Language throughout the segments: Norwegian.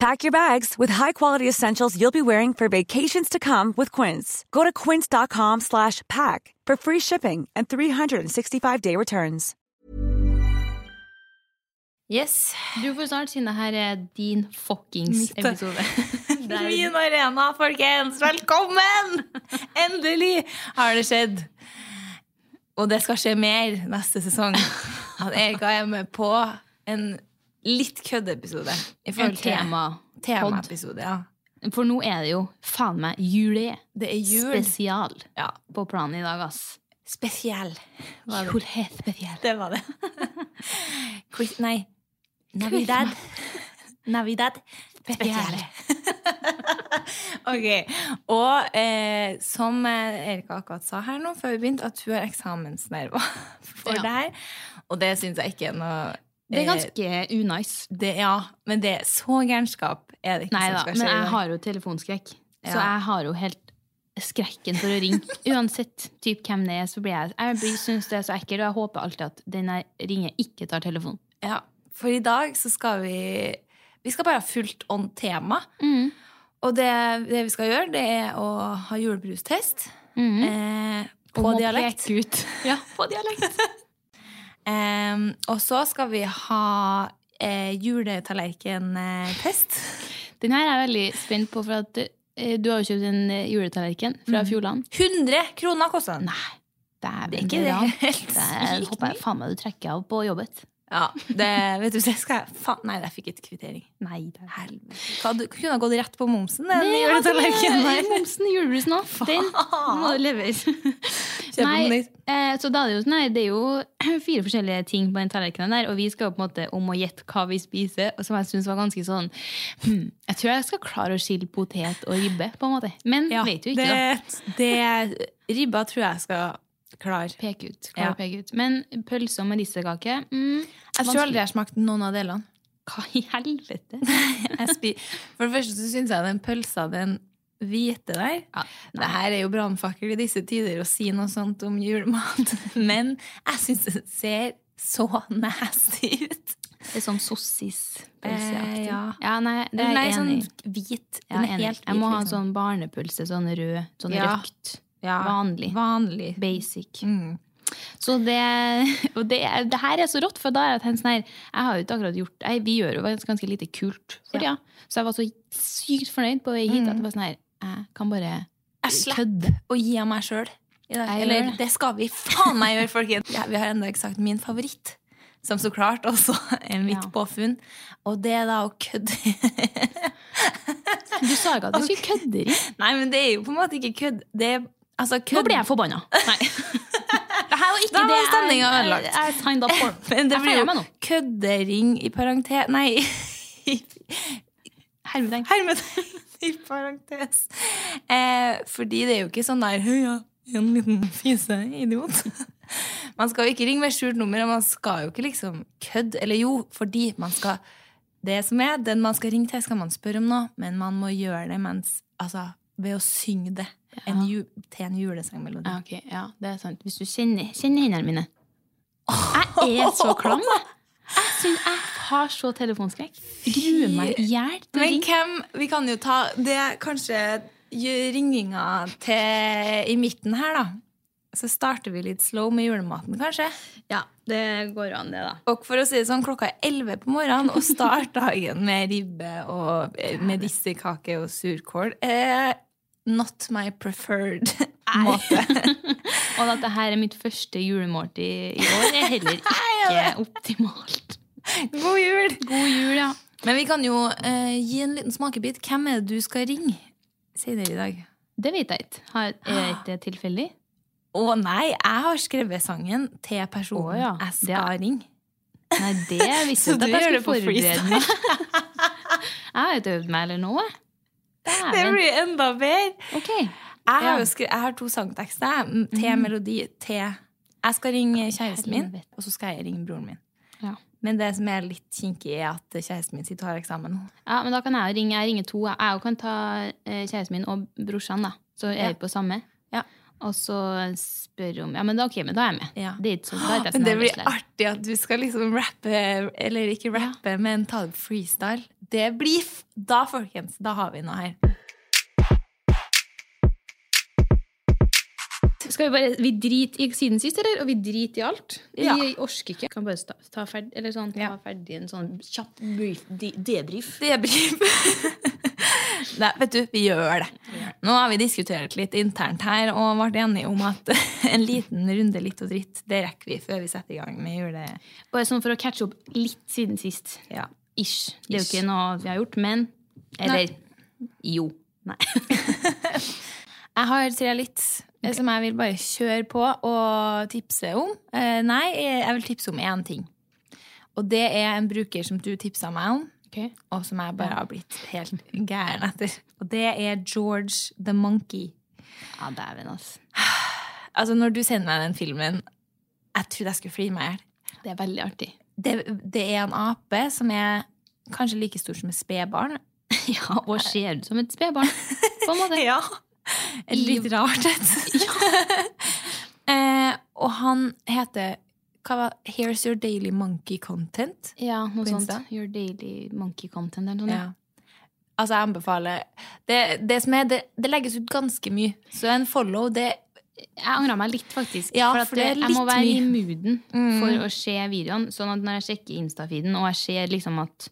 Pack your bags with high-quality essentials you'll be wearing for vacations to come with Quince. Go to quince.com slash pack for free shipping and 365-day returns. Yes. Du får snart si det her er din fuckings Mitt. eh, episode. Der- Min arena, folkens! Velkommen! Endelig har det skjedd. Og det skal skje mer neste sesong. At Erika er med på en litt køddeepisode. i En forhold til tema. Temaepisode, ja. For nå er det jo faen meg jule Det er jul. spesial ja. på planen i dag, ass. Spesiell. var det. Jule spesial. Det var det. Quiz, nei. Navidad. Navidad. Spesiell. ok. Og eh, som eh, Erika akkurat sa her nå før vi begynte, at hun har eksamensnerver for Ja. det her. Og det syns jeg ikke er noe Det er eh, ganske unice. det, Ja, men det er så gærenskap er det ikke Nei som da, skal men skje. i jeg dag. har jo telefonskrekk. Så Ja. jeg har jo helt skrekken for å ringe. Uansett typ hvem det er, så blir jeg Jeg blir- synes det er så ekkelt, og jeg håper alltid at den jeg ringer, ikke tar telefonen. Ja, for i dag så skal vi Vi skal bare ha fullt on tema. Mm. Og det, det vi skal gjøre, det er å ha julebrustest eh, på Om å dialekt. Mm. peke ut. Ja, på dialekt. Eh, og så skal vi ha eh, juletallerkentest. Den her er jeg veldig spent på, for at eh, du har jo kjøpt en eh, juletallerken fra Fjordland. 100 kroner koster den! Nei, dæven. Mm. Det er ikke Ran. det helt Det er- sykt håper jeg faen meg du trekker av på jobbet. Ja, det, vet du, det skal jeg faen, Nei, jeg fikk ikke kvittering. Nei, det er Helvete. Hva, Du kunne ha gått rett på momsen, den Nei, altså, juletallerkenen det er der. Momsen i julebrusen nå. Den må leveres. på Nei, nytt. eh, så da er det, jo, sånn her, det er jo fire forskjellige ting på den tallerkenen der, og vi skal jo på en måte om å gjette hva vi spiser, og som jeg syns var ganske sånn hmm, Jeg tror jeg skal klare å skille potet og ribbe, på en måte. Men Ja, vet jo ikke, da. det, det Ribba tror jeg skal klare. Peke ut. Klar, Ja. å peke ut. Men pølse og medisterkake mm, Jeg tror aldri jeg har smakt noen av delene. Hva i helvete? Jeg spi- For det første så syns jeg den pølsa, den hvite der Ja, Det her er jo brannfakkel i disse tider å si noe sånt om julemat, men jeg syns det ser så nasty ut. Det er sånn sossispølseaktig. Eh, ja. nei, det er Nei, jeg sånn enig i. hvit. Jeg, Den er er enig. helt hvit. jeg må ha en liksom. sånn barnepølse, sånn rød, sånn Ja. røkt. Ja, vanlig. vanlig. Basic. Mm. Så det, og det, er- det her er så rått, for da er det sånn her Jeg har jo ikke akkurat gjort nei, Vi gjør jo ganske, ganske lite kult for tida. Så jeg var så sykt fornøyd på vei hit at det var sånn her Jeg kan bare Mm. Jeg slipper kødde. å gi av meg sjøl. Jeg gjør Eller det. det skal vi faen meg gjøre, folkens! Ja, vi har ennå ikke sagt min favoritt, som så klart også er mitt Ja. påfunn, og det er da å kødde Du sa ikke at vi skulle kødde. Rik. Nei, men det er jo på en måte ikke kødd. Det er altså kødd. Nå ble jeg forbanna. Nei. Det her var ikke Da var det jeg- stemningen ødelagt. Jeg, jeg signed up for. Men det Jeg blir feirer meg jo nå. køddering i parentes Nei, Hermetegn. hermetegn i parentes. Eh, fordi det er jo ikke sånn der Høya, en liten fiseidiot. Man skal jo ikke ringe med skjult nummer, og man skal jo ikke liksom kødde. Eller jo, fordi man skal Det som er, den man skal ringe til, skal man spørre om noe, men man må gjøre det mens Altså, ved å synge det. en ju til en julesangmelodi. Ja, ok, ja, det er sant. Hvis du kjenner, kjenner hendene mine Jeg er så klam, jeg. Jeg, synes jeg har så telefonskrekk. Gruer meg i hjel til å Men ringe. hvem Vi kan jo ta Det er kanskje gj- ringinga til i midten her, da. Så starter vi litt slow med julematen, kanskje. Ja, det går an, det, da. Og for å si det sånn, klokka er 11 på morgenen, og start dagen med ribbe og eh, medisterkake og surkål eh, Not my preferred måte. Og at dette er mitt første julemåltid i år, er heller ikke optimalt. God jul! God jul, ja. Men vi kan jo eh, gi en liten smakebit. Hvem er det du skal ringe senere i dag? Det vet jeg ikke. Har- Er ikke det tilfeldig? Å nei, jeg har skrevet sangen til personen Å ja, jeg det skal er- ringe. Nei, det Så visste jeg ikke du at gjør jeg det på skulle forberede meg. Jeg har ikke øvd meg eller noe. Det Dæven. blir enda bedre! Ok. Jeg har, Ja. Mhm. jo skrevet, jeg har to sangtekster. jeg, m, Til melodi. Til Jeg skal ringe kjæresten min, Helvete. og så skal jeg ringe broren min. Ja. Men det som er litt kinkig, er at kjæresten min sitter og har eksamen nå. ja, men da kan jeg jo ringe. Jeg ringer to. Jeg jeg kan ta eh, kjæresten min og brorsan, da. Så er vi på samme. Ja. Og så spør om Ja, men da, ok, men da er jeg med. Ja. Det er ikke så, da er sånn ikke jeg så Men det nervøs blir lenger. artig at du skal liksom rappe, eller ikke rappe, men ta det freestyle. Det blir f Da, folkens, da har vi noe her. Skal vi bare Vi driter i siden sist, eller? Og vi driter i alt? Vi Ja. orsker ikke. Kan bare ta, ta, ferd, eller sånn, ta Ja. ferdig en sånn kjapp brief- de- debrief. Det blir Nei, vet du, vi gjør det. Nå har vi diskutert litt internt her og ble enige om at en liten runde litt og dritt, det rekker vi før vi setter i gang med jule... Bare sånn for å catche opp litt siden sist. Ja. Ish. Det er jo ikke noe vi har gjort, men Eller jo. Nei. Jeg har tre litt eh, som jeg vil bare kjøre på og tipse om. Eh, nei, eh, jeg vil tipse om én ting. Og det er en bruker som du tipsa meg om, og som jeg bare har blitt helt gæren etter. Og det er George the Monkey. Ja, dæven, altså. Altså, når du sender meg den filmen, jeg trodde jeg skulle flire meg i hjel. Det er veldig artig. Det, det er en ape som er kanskje like stor som et spedbarn. Ja, og ser ut som et spedbarn. På en måte. Ja. Litt rart. vet du. eh, og han heter hva var, Here's Your Daily Monkey Content. Ja, noe På sånt. Insta? Your daily monkey content eller noe sånt. Ja. Altså, jeg anbefaler Det, det som er, det, det legges ut ganske mye. Så en follow, det Jeg angrer meg litt, faktisk. Ja, for at for det er jeg må litt være i mye. mooden Mm. for å se videoene. Sånn at når jeg sjekker Insta-feeden, og jeg ser liksom at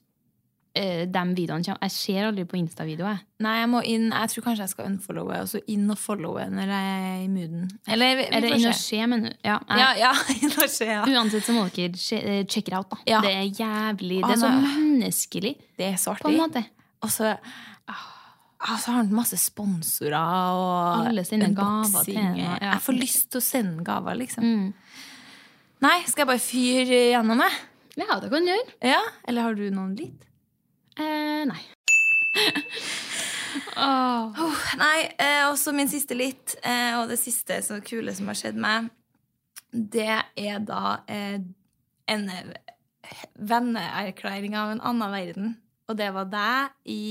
eh, de videoene kommer Jeg ser aldri på Insta-videoer, jeg. Nei, jeg må inn Jeg tror kanskje jeg skal unfollowe, og så inn og followe når jeg er i mooden. Eller vi, Eller vi inn får og se. se, men ja. jeg- Ja, ja, inn og se, ja. Uansett så må dere sje- eh, check it out, da. Ja. Det er jævlig Å, Det er så nei. menneskelig, Det er så på en artig. måte. Og så ah, så har han masse sponsorer og Alle sine unboxing. gaver til henne, ja. Jeg får lyst til å sende gaver, liksom. Mm. Nei, skal jeg bare fyre gjennom, jeg? Ja, det kan du gjøre. Ja? Eller har du noen litt? Eh, nei. Åh. Oh, nei, eh, også min siste litt, eh, og det siste så kule som har skjedd meg, det er da eh, en eh, venneerklæring av en annen verden. Og det var deg i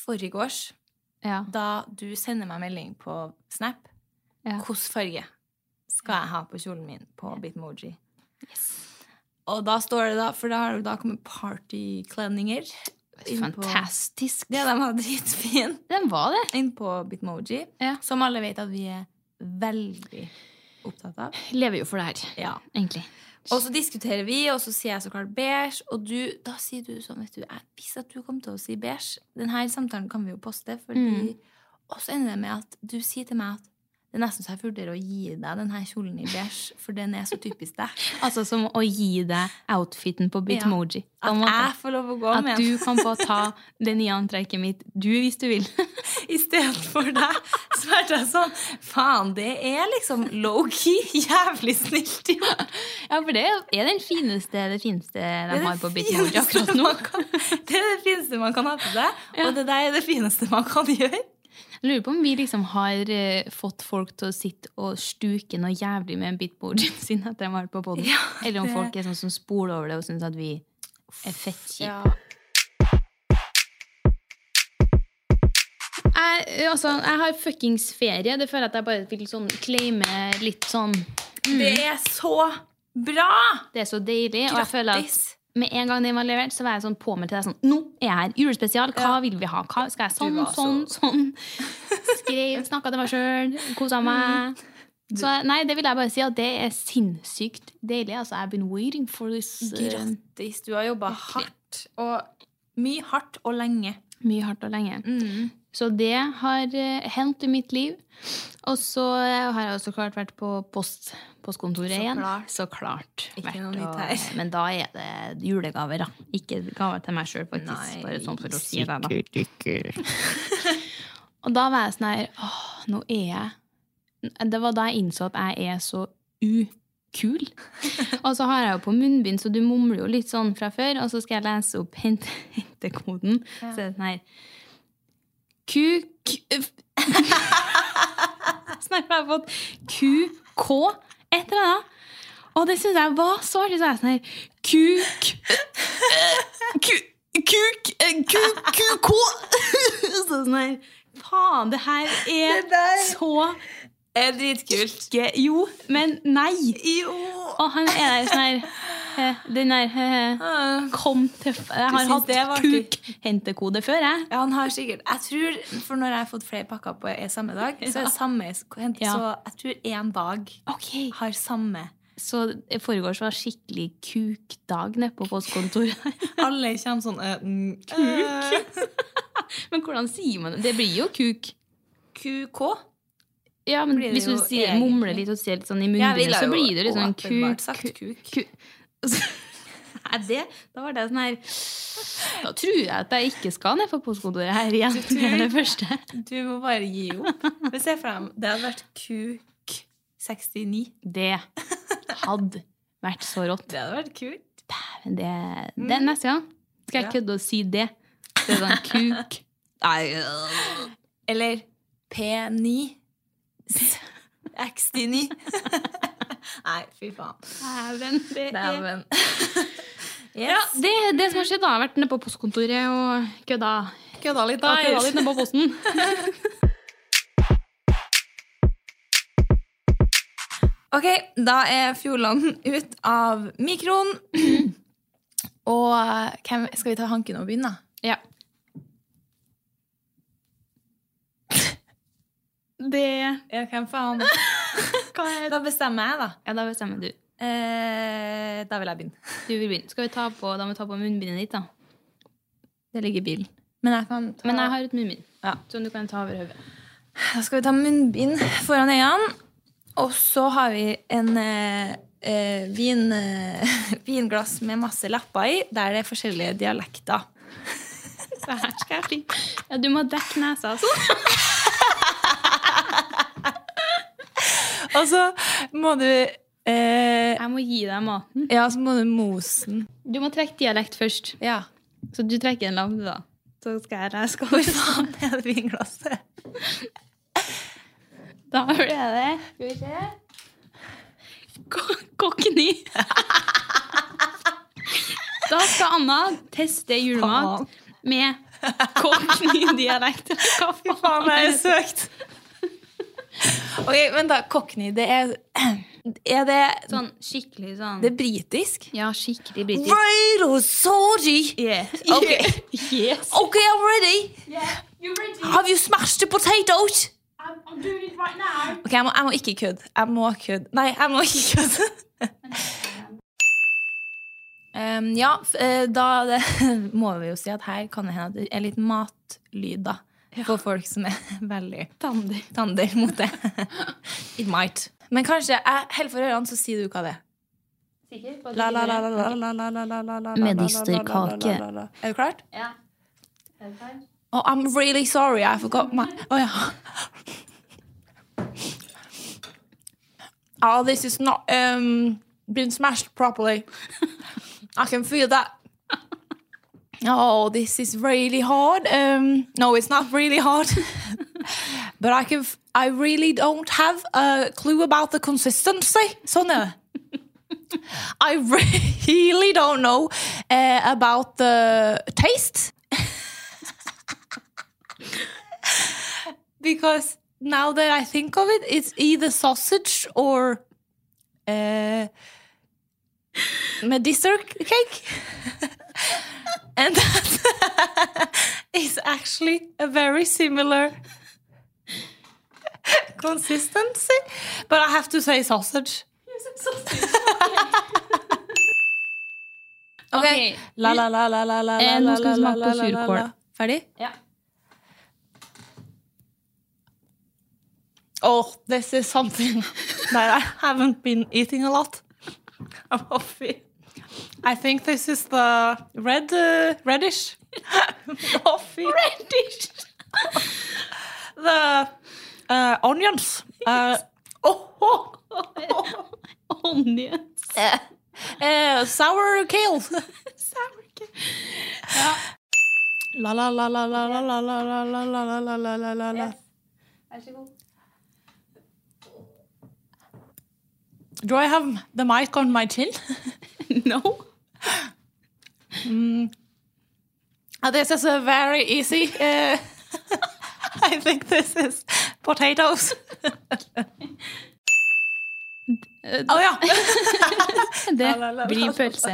forgårs, Ja. da du sender meg melding på Snap. Ja. Hvilken farge skal jeg ha på kjolen min på Bitmoji? Og da står det da, for da har det da kommet partyklänninger. inn på- Fantastisk. Det de var dritfin. Den var det. Inn på Bitmoji. Ja. Som alle vet at vi er veldig opptatt av. Lever jo for det her, Ja. egentlig. Og så diskuterer vi, og så sier jeg så klart beige. Og du, da sier du sånn, vet du, jeg visste at du kom til å si beige. Denne samtalen kan vi jo poste. Fordi, Mm. Og så ender det med at du sier til meg at det er nesten så jeg vurderer å gi deg denne kjolen i beige, for den er så typisk deg. Altså som å gi deg outfiten på Bitmoji. På en At måte. jeg får lov å gå At med du den kan få ta det nye antrekket mitt du, hvis du vil. istedenfor deg. Så er det sånn Faen, det er liksom low-key jævlig snilt gjort. Ja, for det er den fineste, det fineste Det de er har det på Bitmoji fineste akkurat nå. man kan- Det er det fineste man kan ha på seg, Ja. og det der er det fineste man kan gjøre. Jeg lurer på om vi liksom har eh, fått folk til å sitte og stuke noe jævlig med en bitboardien sin etter de har vært på podden. Ja, Eller om det- folk er sånn som spoler over det og syns at vi er fettkjipe. Ja. jeg, altså, jeg har fuckings ferie. Det føler jeg at jeg bare vil sånn claime litt sånn Det er så bra! Det er så deilig. Og jeg føler at Grattis. med en gang den var levert, så var jeg sånn påmeldt til deg sånn Nå er jeg her! Julespesial! Hva vil vi ha? Hva skal jeg sånn, Du var så- sånn, sånn? Skrev, snakka til meg sjøl, kosa meg. Så nei, det vil jeg bare si at det er sinnssykt deilig. Altså, I've been waiting for this. eh, Grattis. Du har jobba hardt. Og mye hardt og lenge. Mye hardt og lenge. Mm. Så det har eh, hendt i mitt liv. Og så eh, har jeg også klart vært på post, postkontoret Så igjen. klart. Så klart. Ikke vært noe nytt og- her. Men da er det julegaver, da. Ikke gaver til meg sjøl, faktisk. Nei, bare sånn for å si det, da. og da var jeg sånn her Åh, nå er jeg Det var da jeg innså at jeg er så ukul. Og så har jeg jo på munnbind, så du mumler jo litt sånn fra før. Og så skal jeg lese opp hente, hentekoden. Så er det sånn her QQ Snart har jeg fått QK et eller annet. Og det syns jeg var så artig. Så er jeg sånn her Kuk Ku- Kuk eh, ku- QK Så sånn her Faen, det her er Det der- så Er dritkult. ikke Jo, men nei. Jo! Og han er der sånn her eh, Den der eh, Ah. Kom til f- Jeg har synes hatt det var artig? kuk-hentekode før, jeg. Ja, han har sikkert Jeg tror, For når jeg har fått flere pakker på en samme dag, så er det samme Ja. Så jeg tror én dag Ok. har samme. Så i forgårs var skikkelig kukdag nede på postkontoret. Alle kommer sånn eh, mm, eh, Men hvordan sier man det? Det blir jo kuk. QK. Ja, men Blir det hvis du jo sier, egentlig? mumler litt og sier litt sånn i Jeg munnbindet, ville så jo blir det liksom åpenbart kuk, sagt kuk. kuk, kuk. Nei, det, da var det sånn her Da tror jeg at jeg ikke skal ned på postkontoret her igjen. Det er det første. Du må bare gi opp. Men se for deg, det hadde vært QK69. Det hadde vært så rått. Det hadde vært kult. Men det, det neste gang skal jeg Mm. Ja. kødde og si det. Det er sånn kuk. Eller P9. X9. Nei, fy faen. Dæven, det er Dæven. ja, Yes. det, det som har skjedd, da. Jeg har vært nede på postkontoret og kødda. Kødda litt, Og kødda litt nede på posten. Ok, da er Fjordland ut av mikroen. Og eh, hvem, skal vi ta Hanken og begynne, da? Ja. Det Ja, hvem faen? Da bestemmer jeg, da. Ja, da bestemmer du. Eh, da vil jeg begynne. Du vil begynne. Skal vi ta på, da må vi ta på munnbindet ditt, da. Det ligger i bilen. Men jeg kan ta... Men jeg har et munnbind Ja. som du kan ta over hodet. Da skal vi ta munnbind foran øynene. Og så har vi en eh, eh, vin, eh, vinglass med masse lapper i, der det er forskjellige dialekter. Så her skal jeg fly. Ja, du må dekke nesa, altså. Og så Altså, må du eh, Jeg må gi deg maten. Ja, så må du mose den. Du må trekke dialekt først. Ja. Så du trekker en lampe, da. Så skal jeg reske Hvor faen er det vinglasset? Da ble det Skal vi se Ko- Kokkeny. Da skal Anna teste julemat med kokkeny-dialekt. Hva Fy faen, det er søkt. Ok, men da, Cockney, det er Er det Sånn skikkelig sånn Det er britisk? Ja, skikkelig britisk. Really sorry. Yeah. Okay. Yes. Okay, I'm ready. Have you smashed the potatoes? Ok, jeg må, jeg må ikke kødde. Jeg må kødde. Nei, jeg må ikke kødde. Em, ja, f- eh, da det, må vi jo si at her kan det hende at det er litt matlyd, da. For folk som er veldig Tander. tander mot det. It might. Men kanskje jeg holder for ørene, så sier du hva det er. La, la, la, la, la, la, la, la, la, la, la, Medisterkake. la, la, la. Er du klart? Oh, I'm really sorry, I forgot my Å ja. Oh, this is not um, been smashed properly. I can feel that. Oh, this is really hard. Um, no, it's not really hard. but I can. F- I really don't have a clue about the consistency. So no. I really don't know uh, about the taste. Because now that I think of it, it's either sausage or uh, medister cake. and that is actually a very similar consistency. But I have to say sausage. Ok. La, la, la, la, la, la, la, Eh, nå skal la, vi la, la, la, la, la. smake på surkål. Ferdig? Ja. Oh, this is something that I haven't been eating a lot. I'm coffee. I think this is the red, uh, reddish coffee. Reddish. the uh, onions. Uh, oh, oh, Onions. uh, sour kale. sour kale. La la la la la la la la la la la la la la la la. Vær så god. Do I have the mic on my chin? No. Uh, this is a very easy. Uh, I think this is potatoes. oh ja. Det blir pølse.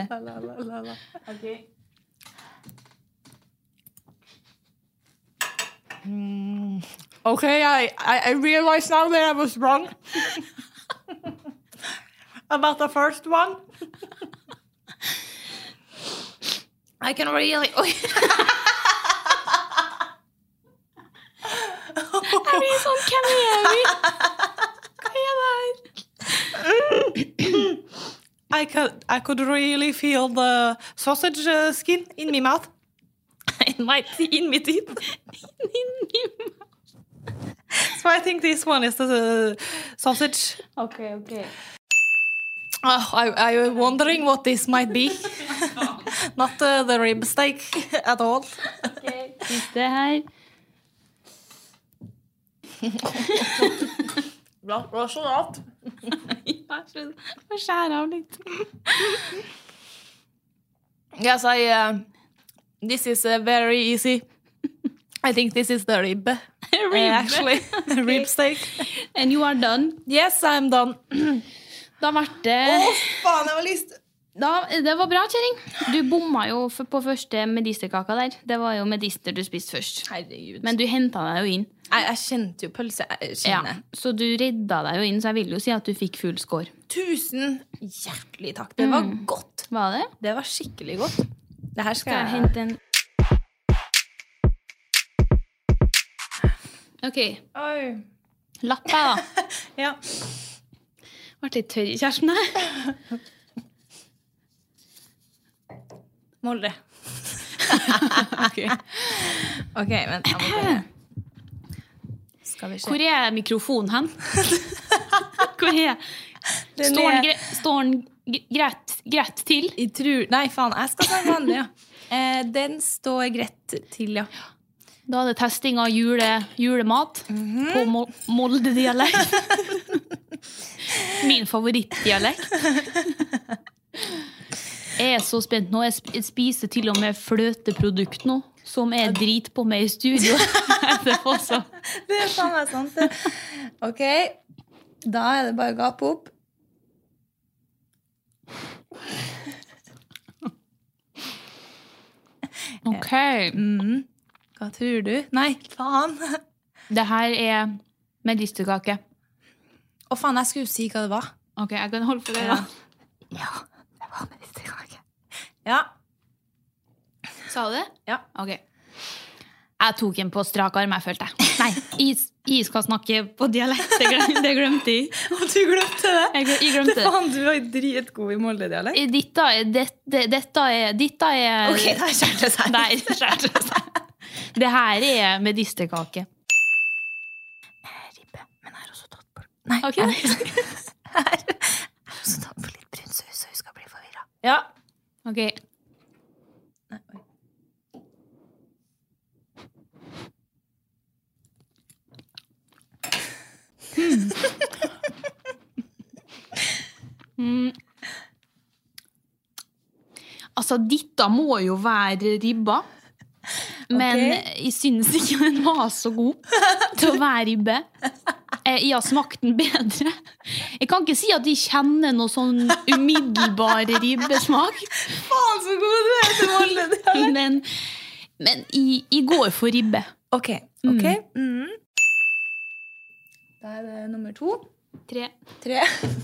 Mm, Okay, I, I, I realize now that I was wrong about the first one. I can really. Jeg blir sånn Hvem er vi? Hva er det her? I could I could really feel the sausage uh, skin in my mouth. in my te- in my teeth. so I think this one is the uh, sausage. Ok, ok. Oh, I I was wondering what this might be. Not uh, the rib steak at all. Det her Vær så god. Få skjære av litt. Yes, I. Uh, this is uh, very easy. I think this is the rib. uh, actually, rib steak. Eh, And you are done. Yes, I'm done. Da ble det Oh. da, Det var bra, kjerring. Du bomma jo f- på første medisterkaka der. Det var jo medister du spiste først. Herregud. Men du henta deg jo inn. Jeg, jeg kjente jo pølse. eh, Jeg Ja, kjenner. så du redda deg jo inn, så jeg vil jo si at du fikk full score. Tusen hjertelig takk. Det var godt. Var det? Det var skikkelig godt. Det her Skal jeg Mm. skal jeg hente en OK. Oi. Lapp her, da. Ja. Ble litt tørr i kjæresten her. Molde. OK, men jeg må bare Skal vi se. Hvor er mikrofonen hen? Hvor er Står den, gre står den gre- greit, greit til? Jeg tror Nei, faen. Jeg skal ta den vanlige. Ja. Eh, den står greit til, ja. Da er det testing av jule, julemat Mhm. på Mol Molde-dialekt. Min favorittdialekt. Jeg er så spent nå. Jeg sp- Jeg spiser til og med fløteprodukt nå, som jeg driter på med i studio. Etterpå, så. Det er faen meg sant, det. OK. Da er det bare å gape opp. Ok. Mm. Hva tror du? Nei, faen. Å, Det her er medisterkake. faen, jeg skulle jo si hva det var. Ok, jeg kan holde for det. da. Ja, det var medisterkake. Ja. Sa du det? Ja. Ok. Jeg tok en på strak arm, jeg følte. Nei, jeg, jeg skal snakke på dialekt. Det glem- det glemte jeg. Og du glemte det? Jeg, glem- jeg glemte det. Eh, du er dritgod i Molde-dialekt. Dette er, dette, dette er, dette er Ok, der skjærte det seg. Nei, skjært. Det her er medisterkake. Ribbe. Men jeg har også tatt på Nei, Ok. jeg jeg har også tatt på litt brun saus, så hun skal bli forvirra. Ja. Ok. Hmm. Mm. Altså, dette må jo være ribba. Men jeg synes ikke den var så god til å være ribbe. Eh, Jeg har smakt den bedre. Jeg kan ikke si at jeg kjenner noe sånn umiddelbar ribbesmak, Faen, så god du er til å holde det her! men, men jeg, jeg går for ribbe. Ok, ok. Mm. Da er det nummer to. Tre. Tre.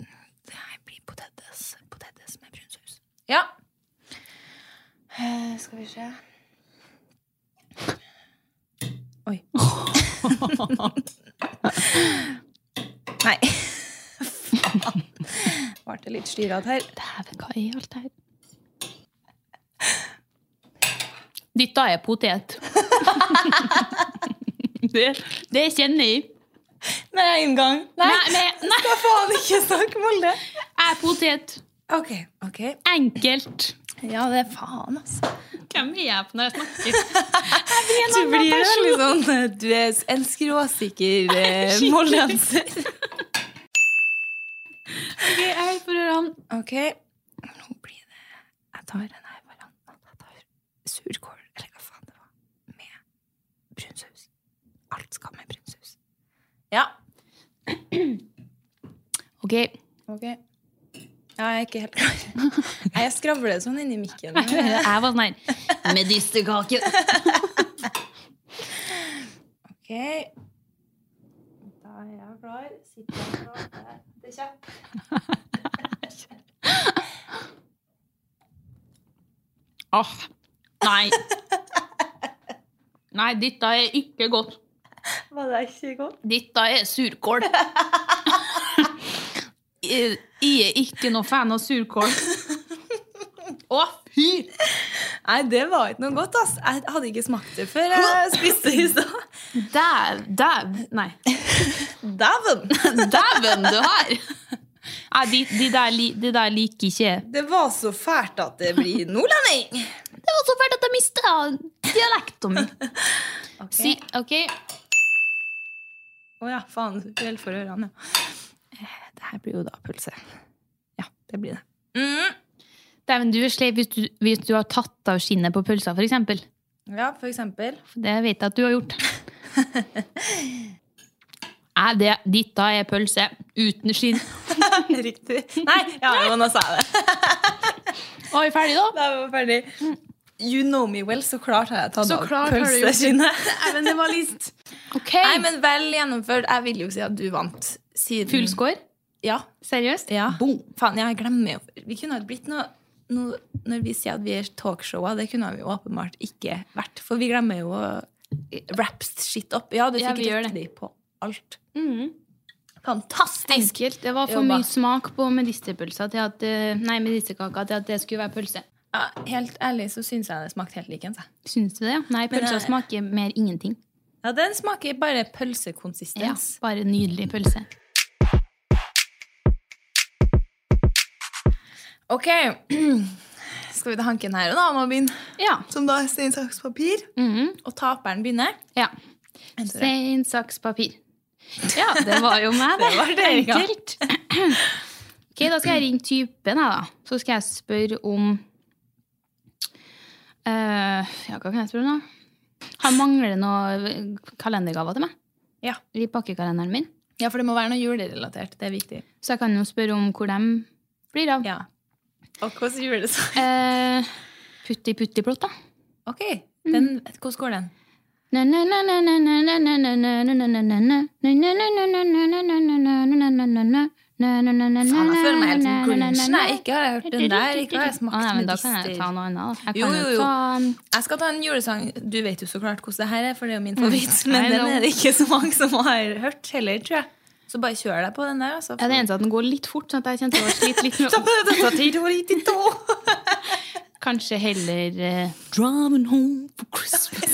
Det her blir potetes. Potetes med brun saus. Ja. Eh, skal vi se Oi. Nei. Faen. Ble litt styrete her. Dæven, hva er alt det her? Dette er potet. det, det kjenner jeg. Nei, inngang. Nei, Nei, men- nei. skal faen ikke snakke Molde. Jeg er potet. Ok, ok. Enkelt. Ja, det er faen, altså. Hvem er jeg på når jeg snakker? liksom- Du blir veldig sånn eh, Du er en skråsikker eh, moldenser. Ok, jeg får høre han. Ok, nå blir det Jeg tar den her varianten. Jeg tar surkål, eller hva faen det var, med brunsaus. Alt skal med brunsaus. Ja. Ok, Ok. Jeg er ikke helt klar. Jeg skravler sånn inni mikken. jeg var sånn her Medisterkake. Ok. Da er jeg klar. Sitter jeg klar? Det er kjapt. Åh, nei. Nei, dette er ikke godt. Var det ikke godt? Dette er surkål. Jeg jeg er ikke noe fan av surkål. Å, fy! Nei, det var ikke noe godt, ass. Jeg hadde ikke smakt det før jeg spiste i stad. Dæv, dæv, nei. Dæven! Dæven, du har! Nei, de, de, der, li- de der liker ikke jeg. Det var så fælt at det blir nordlending! Det var så fælt at jeg mista dialekten min. Si, ok, Å ja, faen. Vel for ørene, ja. Eh, Det her blir jo da pølse. Ja, det blir det. Dæven, du er sleip hvis, du- hvis du har tatt av skinnet på pølsa, for eksempel. Ja, for eksempel. For det vet jeg at du har gjort. Nei, det, dette er pølse uten skinn. Riktig. Nei, ja, men nå sa jeg det. Var vi ferdige, da? Da var vi ferdig. You know me well, så klart har jeg tatt Så av klart har du gjort det. pølseskinnet. Nei, men det var list. Ok. Nei, men vel gjennomført. Jeg vil jo si at du vant. Siden Full score? Ja. Seriøst? ja. Faen, jeg glemmer jo Vi kunne ha blitt noe, noe Når vi sier at vi er talkshowa, det kunne vi jo åpenbart ikke vært. For vi glemmer jo å wrap shit opp. Ja, du Ja, fikk vi gjør det. riktig på alt. Mm. Fantastisk! Enkelt. Det var for Jobba. mye smak på medisterpølsa til at eh, Nei, medisterkaka til at det skulle være pølse. Ja, helt ærlig så syns jeg det smakte helt likens. jeg. Syns du det? Nei, pølsa jeg- smaker mer ingenting. Ja, den smaker bare Ja, pølsekonsistens. bare nydelig pølse. Ok, skal vi ta hanken her og da må begynne? Ja. Som da er stein, saks, papir. Og taperen begynner. ja. Enter det. Stein, saks, papir. Ja, det var jo meg, det. Det var det, ja. Enkelt. Ok, da skal jeg ringe typen, jeg, da. Så skal jeg spørre om eh, Ja, hva kan jeg spørre om, da? Han mangler noen kalendergaver til meg. Ja. I pakkekalenderen min. ja, for det må være noe julerelatert. Det er viktig. Så jeg kan jo spørre om hvor de blir av. Ja. Og hvordan julesang? Eh, putti putti plott, da. Ok, Mm. den, hvordan går den? Faen, jeg føler meg helt som grunge. Nei, ikke har jeg hørt den der. Ikke har jeg smakt Å, nei, men Da kan jeg medister. ta noe annet. da. Jeg Jo, kan jo, jo. ta Jeg skal ta en julesang. Du vet jo så klart hvordan det her er, for det er jo min favoritt. Men Mm. I den know. er det ikke så mange som har hørt heller, tror jeg. Så bare kjør deg på den der, altså. ja, Det eneste er at den går litt fort, sånn at jeg kjente jeg var slitt litt Nei, med Kanskje heller eh, Driving home for Christmas.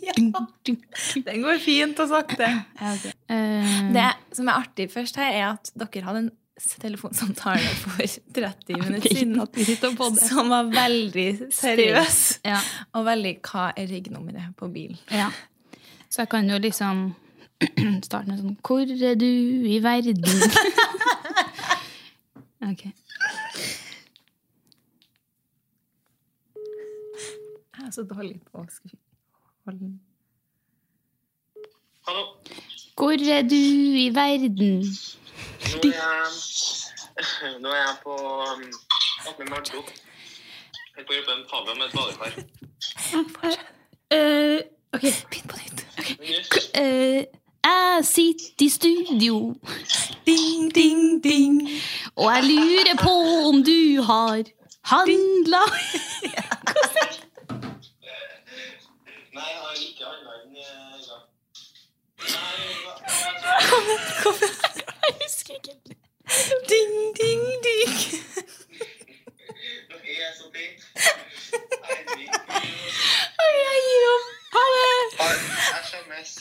ja. Ding, ding. Den går fint og sakte. Eh, Det som er artig først her, er at dere hadde en s- telefonsamtale for 30 minutter siden at vi sitter på det. som var veldig seriøs. Ja. Og veldig 'hva er ryggenummeret på bilen'? Ja. Så jeg kan jo liksom starte med sånn Hvor er du i verden? ok. Jeg er så dårlig på å skru holde Hallo. Hvor er du i verden? Nå er jeg, nå er jeg på um, oppe med Marto. Jeg er på gruppe med Pablo med et badekar. ok. Begynn på nytt. Ok. eh, jeg sitter i studio, Ding, ding, ding. og jeg lurer på om du har handla Nei, jeg har ikke handla inn eh, i dag. Jeg husker ikke. Ding, ding, ding. Nei, jeg er så fint. Herregud. Ok, jeg gir opp. Ha det! SMS.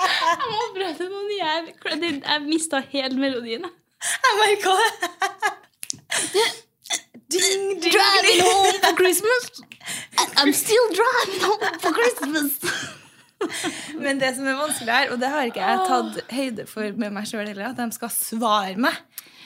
Jeg må prøve noe nytt. Jeg, det- jeg mista hele melodien. jeg. Jeg merka det. Ding, ding, Driving ding. home for Christmas. And I'm still driving home for Christmas. Men det som er vanskelig her, og det har ikke jeg tatt høyde for med meg sjøl heller, at de skal svare meg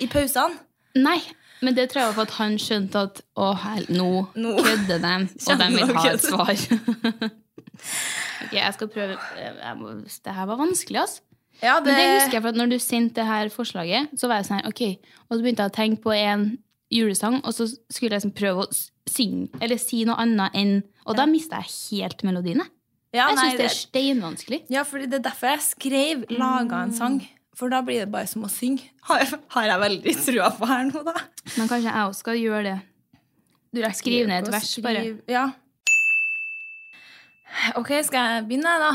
i pausene. Nei, men det tror jeg var for at han skjønte at å, hel, nå Nå. kødder de, og de vil Kjenner ha dere et svar. ok, jeg skal prøve. eh, Jeg må, det her var vanskelig, altså. Ja, Men det husker jeg, for at når du sendte det her forslaget, så var jeg sånn her, ok. Og så begynte jeg å tenke på en julesang, og så skulle jeg liksom prøve å s- synge, eller si noe annet enn Og da mista jeg helt melodien, jeg. Ja, Jeg nei, syns det er steinvanskelig. Ja, fordi det er derfor jeg skrev 'laga en sang'. For da blir det bare som å synge. Har, har jeg veldig trua på her nå, da? Men kanskje jeg også skal gjøre det. Du rekker Skriv ned et å vers, bare. skrive- Ja. Ok, skal jeg begynne, da?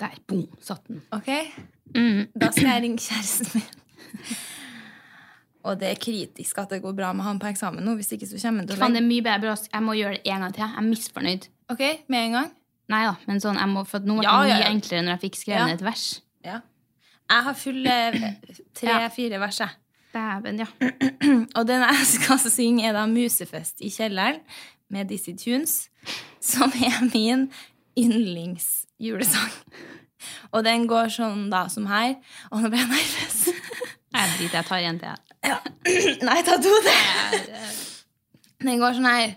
Der, boom, satt den. Ok? Mm. Da skal jeg ringe kjæresten min. Og det er kritisk at det går bra med han på eksamen nå. Hvis ikke så kommer han til å Faen, det er mye bedre. å- Jeg må gjøre det en gang til. Jeg er misfornøyd. Ok, med en gang? Nei da, men sånn, jeg må, for at nå ble det Ja, ja, mye ja. enklere når jeg fikk skrevet Ja. ned et vers. Ja. Jeg har fulle Ja. tre-fire vers, jeg. Dæven, ja. Og den jeg skal synge, er da Musefest i kjelleren med Dizzie Tunes, som er min yndlingsjulesang. Og den går sånn da som her. Og nå ble jeg nervøs. Jeg driter, jeg tar en til. jeg. Nei, ta to til. Den går sånn her.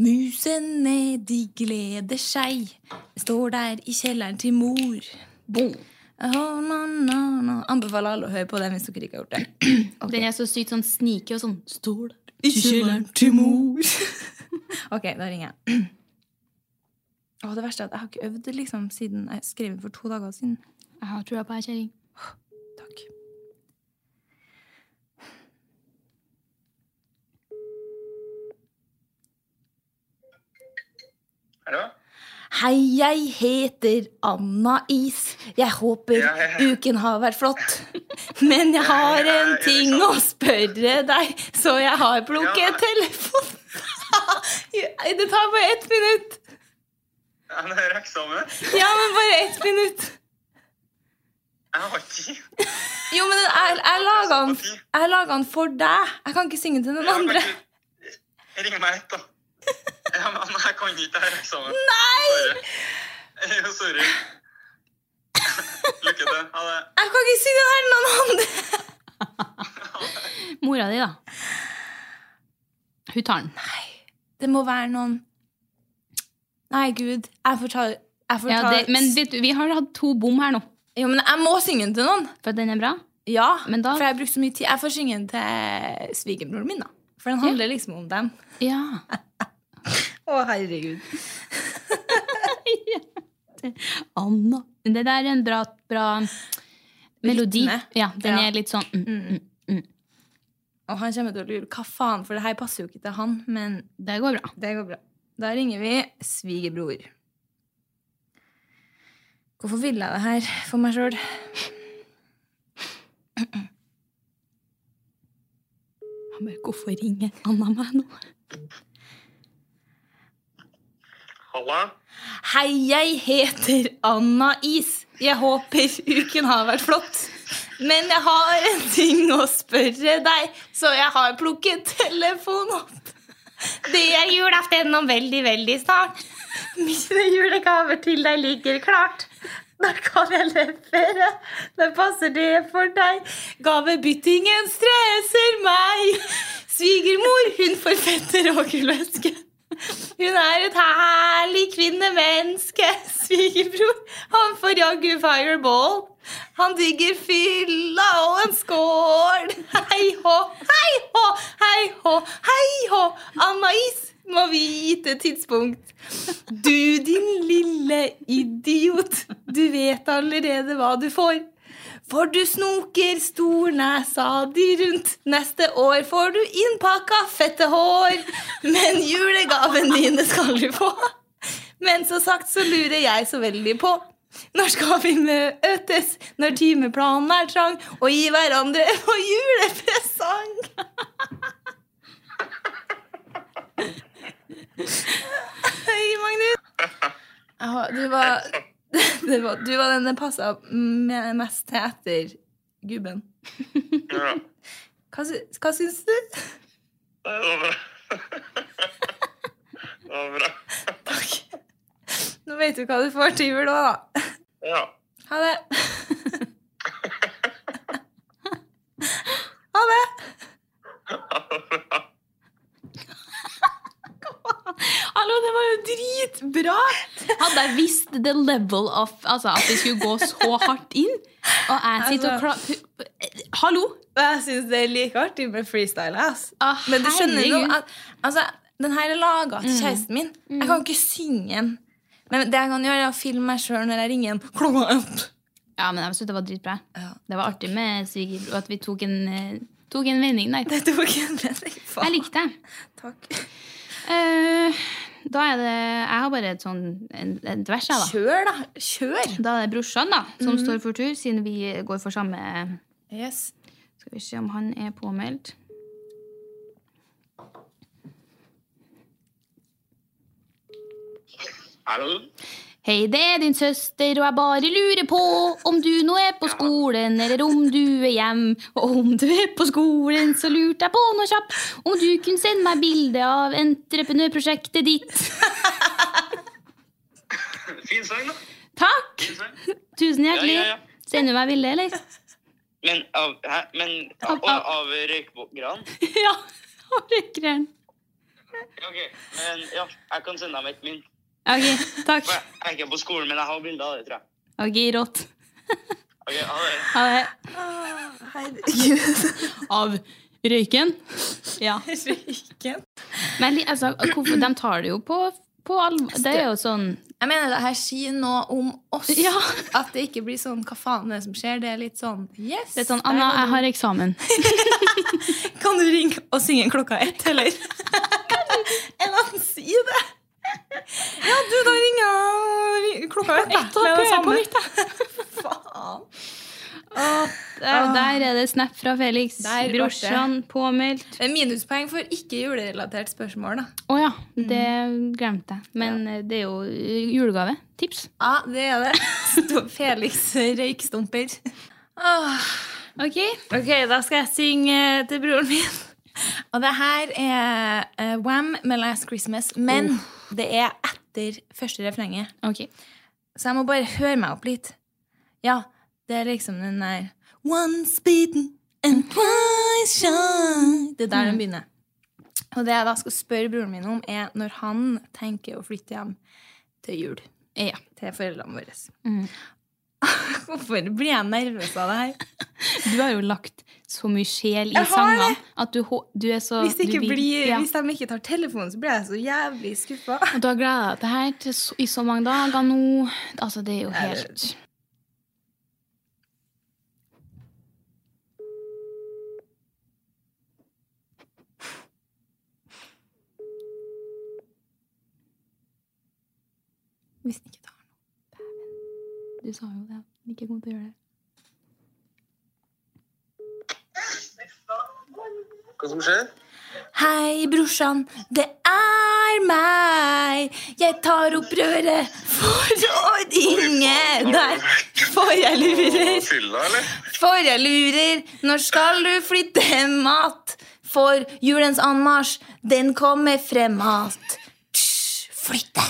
Musene, de gleder seg. Står der i kjelleren til mor. Boom. Oh, no, no, no. Anbefaler alle å høre på den hvis dere ikke har gjort det. Den er så sykt sånn sneaky og sånn stol. til mor. ok, da ringer jeg. Å, det verste er at jeg har ikke øvd det liksom siden jeg skrev den for to dager siden. Jeg har trua på ei kjerring. Takk. Hallo? Hei, jeg heter Anna Is. Jeg håper Ja, ja, ja. uken har vært flott. Men jeg har ja, en ja, ting ja, å spørre deg, så jeg har plukket Ja. telefonen. det tar bare ett minutt. Ja, men det er eksamen. Ja, men bare ett minutt. Jeg har tid. Jo, men jeg, jeg laga den, Sympati. jeg laget den for deg. Jeg kan ikke synge til noen Jeg andre. kan ikke- Ring meg ett, da. Ja, men jeg kan ikke det her eksamen. Nei! Sorry. Jo, sorry. Lykke til. Ha det. Jeg kan ikke synge den her til noen andre. Mora di, da. Hun tar den. Det må være noen Nei, gud. Jeg får ta, jeg får Ja, ta... det, men vet du, vi har hatt to bom her nå. Jo, men jeg må synge den til noen. For at den er bra. Ja, Men da- for jeg har brukt så mye tid. Jeg får synge den til svigerbroren min, da. For den handler liksom om dem. Ja. Å, herregud. Anna. Det der er en bra, bra melodi. Rytme. Ja, den Ja. er litt sånn mm, mm. Og han kommer til å lure hva faen, for det her passer jo ikke til han, men Det går bra. Det går bra. Da ringer vi svigerbror. Hvorfor ville jeg det her for meg sjøl? Han bare, Hvorfor ringer Anna meg nå? Halla. Hei, jeg heter Anna Is. Jeg håper uken har vært flott. Men jeg har en ting å spørre deg, så jeg har plukket telefonen opp. Det er julaften om veldig, veldig snart. Mine julegaver til deg ligger klart. Da kan jeg levere. Da passer det for deg. Gavebyttingen stresser meg. Svigermor, hun forfetter Åkerløske. Hun er et herlig kvinnemenneske. Svigerbror, han får jaggu fireball. Han digger fylla og en skål. Hei hå, hei hå, hei hå, hei hå. Anna-Is må vite tidspunkt. Du, din lille idiot. Du vet allerede hva du får. For du snoker stornesa di rundt. Neste år får du innpakka fette hår. Men julegaven dine skal du få. Men så sagt så lurer jeg så veldig på. Når skal vi møtes? Når timeplanen er trang, og gi hverandre vår julepresang? Hei, Magnus. Åh, Du var, det var, du var den det passa mest til etter gubben. Ja. Hva, sy- hva syns du? Nei, Det var bra. Det var bra. Takk. Nå vet du hva du får til jul òg, da. Ja. Ha det. Ha det. Ja, det var bra. Hallo, det var jo dritbra! Hadde jeg visst the level of Altså, at det skulle gå så hardt inn, og jeg Altså- sitter og kla... Hallo! Og jeg syns det er like artig med freestyle. Ass. Å, Men du skjønner jo herregud. Mm. at altså, den her er laga til kjæresten min. Jeg kan ikke synge den. Men det jeg kan gjøre, er å filme meg sjøl når jeg ringer en klokka ett. Ja, men jeg synes det var dritbra. Ja. Det var artig med svigerbror, og at vi tok en, eh, tok en vending der. Det tok en mening. Jeg Faen. likte det. Takk. Eh, da er det Jeg har bare et sånn en, en vers, jeg, da. Kjør, Mhm. da. Kjør. Da er det brorsan da, som står for tur, siden vi går for samme Yes. Skal vi se om han er påmeldt. Hallo? Hei, det er din søster, og jeg bare lurer på om du nå er på skolen, eller om du er hjem. Og om du er på skolen, så lurte jeg på noe kjapt. Om du kunne sende meg bilde av entreprenørprosjektet ditt. Fin sang, da. Takk! Fin sang. Tusen ja, hjertelig. ja. Sender du meg bilde, eller? Men av, hæ? Men Av- av, av- av røykgran? ja. Orker den. Ok, men ja, jeg kan sende deg et min. Ok, takk. For jeg jeg er ikke på skolen, men jeg har bilder av det, tror jeg. Ok, rått. Ok, ha det. Ha det. Herregud. Av røyken? Ja. Røyken. Men li- altså, hvorfor, de tar det jo på, på alvor. Det er jo sånn Jeg mener det her sier noe om oss. Ja. At det ikke blir sånn 'hva faen er det som skjer'? Det er litt sånn yes. Det er sånn, der Anna, var du. jeg har eksamen. Kan du ringe og synge klokka ett, eller? Eller han sier det. Ja, du, da ringer jeg ring- klokka ett. da. Ett, da Det er det prøver jeg på samme. nytt, Faen. Der, eh, der er det snap fra Felix. Der ble det. Brorsan påmeldt. Det er Minuspoeng for ikke julerelatert spørsmål, da. Å ja, det glemte jeg. Men eh, det er jo eh, julegave. Tips. Ja, det er det. Sto- Felix røykstumper. Åh. Ok. Ok, da skal jeg synge til broren min. Og det her er eh, Wham med Last Christmas, men det er etter første refrenget. Så jeg må bare høre meg opp litt. Ja, det er liksom den der Once beaten and twice shy. Det er der den begynner. Og det jeg da skal spørre broren min om, er når han tenker å flytte hjem til jul. Ja. Til foreldrene våre. Hvorfor blir jeg nervøs av det her? Du har jo lagt så mye sjel i Jeg har sangene det. at du, hå- du er så Hvis, det ikke du vil- blir, ja. hvis de ikke tar telefonen, så blir jeg så jævlig skuffa. Og du har gleda deg til her til så, i så mange dager nå. Altså, det er jo helt Hvis den ikke tar den. Du sa jo det. Ikke kom til å gjøre det. Hva som skjer? Hei, brorsan, det er meg. Jeg tar opp røret for å ringe deg. For jeg lurer. Fylla, eller? For jeg lurer, når skal du flytte hjem att? For julens anmarsj, den kommer frem att. Psj, Flytte!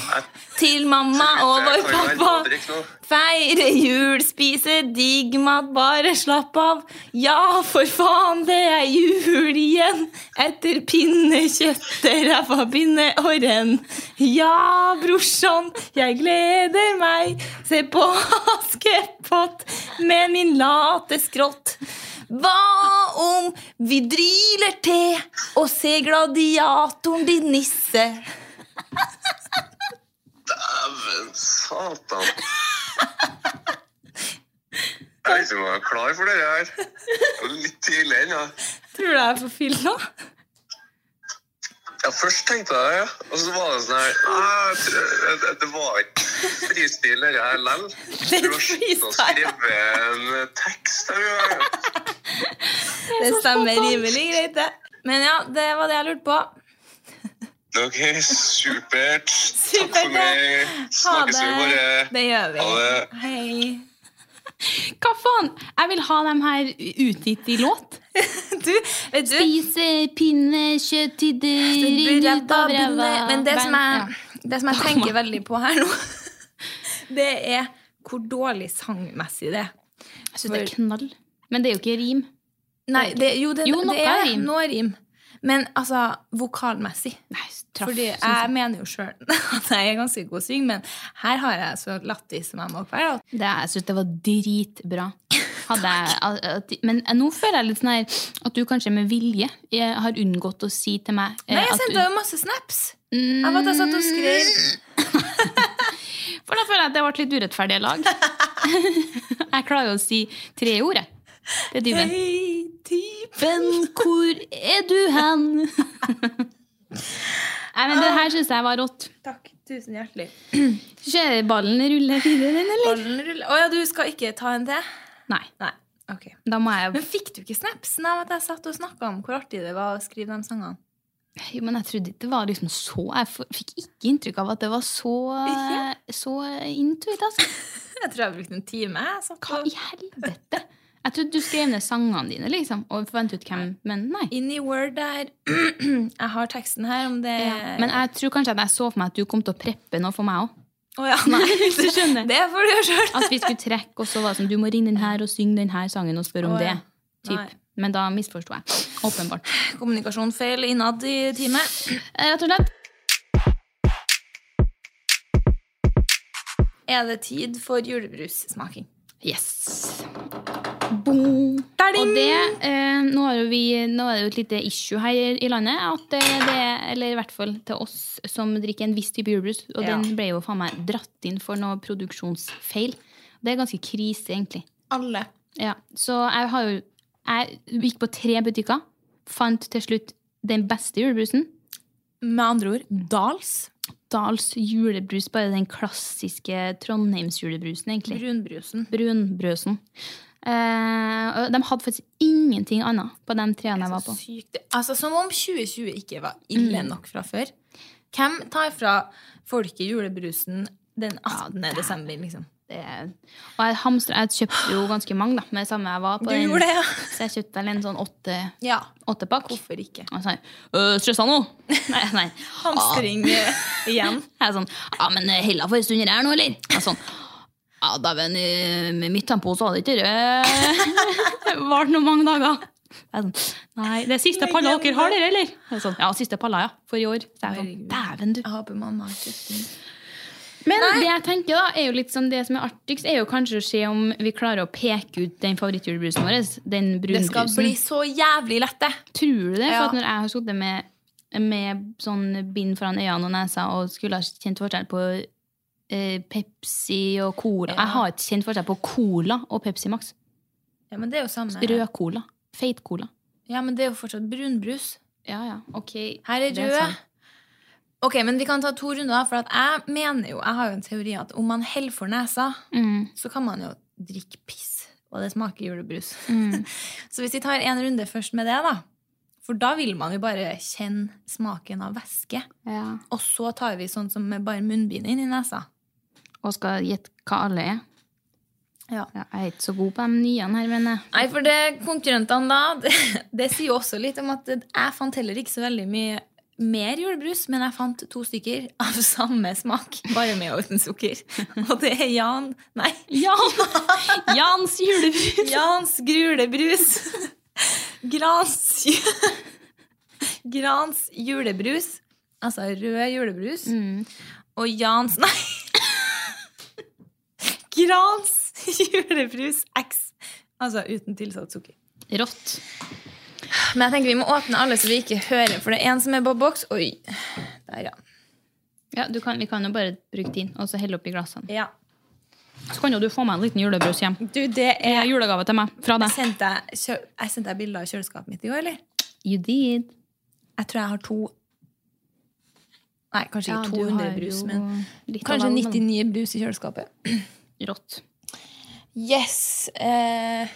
til mamma og Dette vår kan jo være pappa. Robrik nå. Feire jul, spise digg mat, bare slapp av. Ja, for faen, det er jul igjen. Etter pinnekjøtt, ræva, pinne og renn. Ja, brorsan, jeg gleder meg. Se på Askepott med min late skrått. Hva om vi dryler til og ser gladiatoren din nisse? Dæven satan. Jeg visste ikke om jeg var klar for det her. Det var Litt tidlig ennå. Tror du det er for fylla? Ja, først tenkte jeg det, ja. og så var det sånn her «Nei, jeg tror- jeg- jeg- Det var ikke fristil, det her lell. er Du har sluttet å freestyle. skrive en tekst. her, ja. Det stemmer rimelig greit, det. Men ja, det var det jeg lurte på. Ok, supert. Takk for Supert, ja. meg. Ha Snakkes vi det. bare. Det gjør vi. Ha det. Hei. Hva faen? Jeg vil ha dem her utgitt i låt. Du, vet du Spise pinnekjøtt til det det renner ut burde av jeg ræva. begynne- Men det som Ja. jeg, det som jeg tenker veldig på her nå, det er hvor dårlig sangmessig det er. Jeg synes det er knall. Men det er jo ikke rim. Nei, det, jo, det, Jo, noe det er rim. noe rim. Men altså vokalmessig. Nei, traff. Fordi sånn jeg mener jo sjøl at jeg er ganske god til å synge, men her har jeg så lættis som jeg må være. da. Det, jeg synes det var dritbra. Hadde jeg, al- at, men nå føler jeg litt sånn her at du kanskje med vilje eh, har unngått å si til meg eh, Nei, jeg at sendte du, Mm. jo masse snaps. Jeg var da satt og skrev. For da føler jeg at det ble litt urettferdige lag. jeg klarer jo å si tre ord, jeg. Til dyven. Hei, typ. Men hvor er du hen? Nei, men det her syns jeg var rått. Takk. Tusen hjertelig. Skjer ballen ruller videre, den, eller? Ballen ruller. Å ja, du skal ikke ta en til? Nei. Nei. ok. Da må jeg Men fikk du ikke snapsen av at jeg satt og snakka om hvor artig det var å skrive de sangene? Jo, men jeg trodde ikke det var liksom så Jeg f- fikk ikke inntrykk av at det var så, så intuit, altså. Jeg tror jeg brukte en time. jeg satt Hva og- i helvete? Jeg trodde du skrev ned sangene dine, liksom, og forventet ut hvem Men nei. Inn i Word der. Jeg har teksten her, om det Men jeg tror kanskje at jeg så for meg at du kom til å preppe noe for meg òg. Å ja, nei. Du skjønner. Det får du gjøre sjøl. At vi skulle trekke, og så var det sånn Du må ringe den her og synge den her sangen og spørre om Å, ja. det. Nei. Typ. Men da misforsto jeg. Åpenbart. Kommunikasjonsfeil innad i teamet. Eh, Rett og slett. Er det tid for julebrussmaking? Yes. Boom. Og det, eh, nå, har jo vi, nå er det jo et lite issue her i- i landet. At eh, det, eller i hvert fall til oss som drikker en viss type julebrus. Og Ja. den ble jo faen meg dratt inn for noe produksjonsfeil. Det er ganske krise, egentlig. Alle. Ja, Så jeg har jo Jeg gikk på tre butikker, fant til slutt den beste julebrusen. Med andre ord Dals. Dals julebrus, bare den klassiske Trondheims-julebrusen, egentlig. Brunbrusen. Brunbrøsen. Eh, og de hadde faktisk ingenting annet på de treene jeg var på. Mm. Sykt. Altså, som om 2020 ikke var ille nok fra før. Hvem tar fra folket julebrusen den 18. desember, liksom? Det, og jeg hamstra Jeg kjøpte jo ganske mange, da, med det samme jeg var på. Du den. gjorde det, ja. Så jeg kjøpte vel en sånn åtte, Ja. åttepakk. Hvorfor ikke? Og sånn øh, Stressa nå? Nei. nei. Hamstring eh, igjen. Jeg er sånn Ja, men hella for en stund her nå, eller? Jeg er sånn Ja, dæven, eh, med mitt tempo så hadde ikke det vart noe mange dager. Jeg er sånn, Nei, det er siste palla dere har, dere, eller? Jeg er sånn, ja, siste palla, ja. For i år. Så jeg er sånn, Dæven, du. Jeg håper mamma har kjøpt den. Men det jeg tenker da, er jo litt sånn det som er artigst, er jo kanskje å se om vi klarer å peke ut den favorittjulebrusen vår. Den Det skal brunbrusen. bli så jævlig lett, det. Tror du det? For Ja. at når jeg har sittet med, med sånn bind foran øynene og nesa og skulle ha kjent forskjell på eh, Pepsi og Cola Jeg har ikke kjent forskjell på Cola og Pepsi Max. Ja, men det er jo samme. Rød Cola. Feit Cola. Ja, men det er jo fortsatt brunbrus. Ja, ja. Ok. Her er Det rød. sant. Ok, men vi kan ta to runder, da, for at jeg mener jo, jeg har jo en teori at om man heller for nesa, Mm. så kan man jo drikke piss, og det smaker julebrus. så hvis vi tar en runde først med det, da, for da vil man jo bare kjenne smaken av væske, Ja. og så tar vi sånn som med bare munnbind inn i nesa. Og skal gjette hva alle er. Ja. Ja, jeg er ikke så god på de nye her, men jeg. Nei, for det konkurrentene da, det, det sier jo også litt om at jeg fant heller ikke så veldig mye mer julebrus, men jeg fant to stykker av samme smak, bare med og uten sukker. Og det er Jan Nei, Jan, Jans julebrus! Jans grulebrus. Grans Grans julebrus. Altså rød julebrus. mm. Og Jans Nei! Grans julebrus X. Altså uten tilsatt sukker. Rått. Men jeg tenker vi må åpne alle så vi ikke hører, for det er en som er på boks. Oi, der ja. Ja, du kan, vi kan jo bare bruke din, og så helle oppi glassene. ja. Så kan jo du få meg en liten julebrus hjem. Du, det Det er er julegave til meg fra Jeg deg. sendte deg kjø- jeg sendte deg bilder av kjøleskapet mitt i går, eller? You did. Jeg tror jeg har to Nei, kanskje Ja, ikke du 200 har brus, jo men litt av kanskje hver, men- 99 brus i kjøleskapet. Rått. Yes! Eh,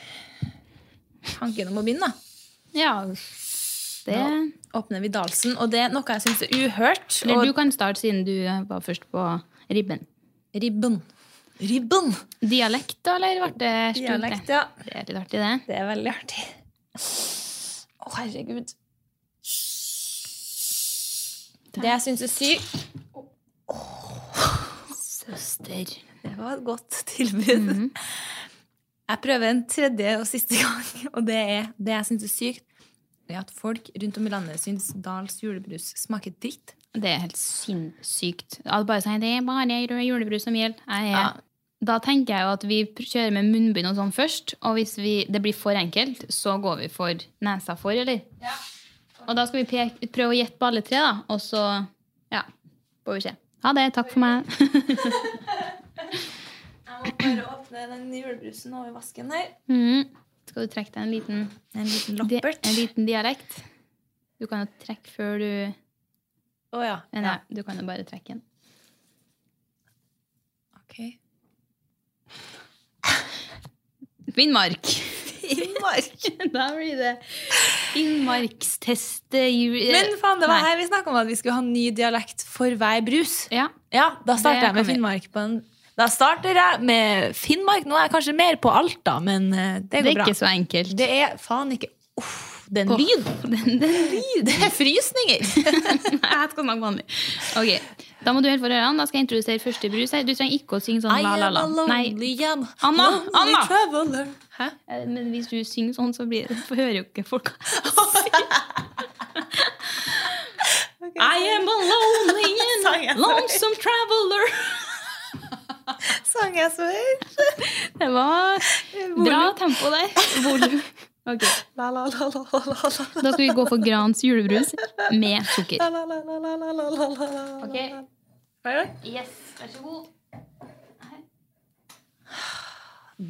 tanken om å begynne, da. Ja, det Åpner vi Dalsen, og det er noe jeg syns er uhørt. Eller Og du kan starte, siden du var først på ribben. ribben. Ribben! Dialekt, da, eller ble det stort? Dialekt, ja. Det er litt artig, det. Det er veldig artig. Å, herregud. Det jeg syns er sykt Søster. Det var et godt tilbud. Jeg prøver en tredje og siste gang, og det er det jeg syns er sykt. Det er at folk rundt om i landet syns Dals julebrus smaker dritt. Det er helt sinnssykt. At bare sier det er bare rød julebrus som gjelder. Jeg er- Ja. Da tenker jeg jo at vi pr- kjører med munnbind og sånn først. Og hvis vi, det blir for enkelt, så går vi for nesa for, eller? Og da skal vi peke, prøve å gjette på alle tre, da. Og så ja, får vi se. Ha det. Takk for meg. Jeg må bare åpne den julebrusen over vasken her. Mhm. Skal du trekke deg en liten, En liten di loppert. en liten dialekt? Du kan jo trekke før du Å ja. Nei, nei, du kan jo bare trekke den. Ok. Finnmark! Finnmark. Da blir det innmarkstest eh, ju- eh, Men faen, det var nei. her vi snakka om at vi skulle ha ny dialekt for hver brus. Ja. Ja, da Det starter jeg med kan vi. Finnmark på en Da starter jeg med Finnmark. Nå er jeg kanskje mer på Alta, men eh, det går Det er bra. ikke så enkelt. Det er faen ikke Uff, den Åh, lyd! Den, den lyd. Det er frysninger! Nei, jeg skal snakke vanlig. Ok, Da må du helt for ørene. Da skal jeg introdusere første brus. her. Du trenger ikke å synge sånn I la, la, am la. a Nei, lonely am Anna, lonely Anna! traveler. Hæ? eh, men hvis du synger sånn, så blir, får- hører jo ikke folk I am a lonely Sang jeg and så lonesome traveler. Sang jeg så høyt? Det var bra tempo der. Volum. Ok, La, la, la, la, la, la, la, Da skal vi gå for Grans julebrus med sukker. la, la, la, la, la, la, la, la. Ok, Hva er det? yes, vær så god.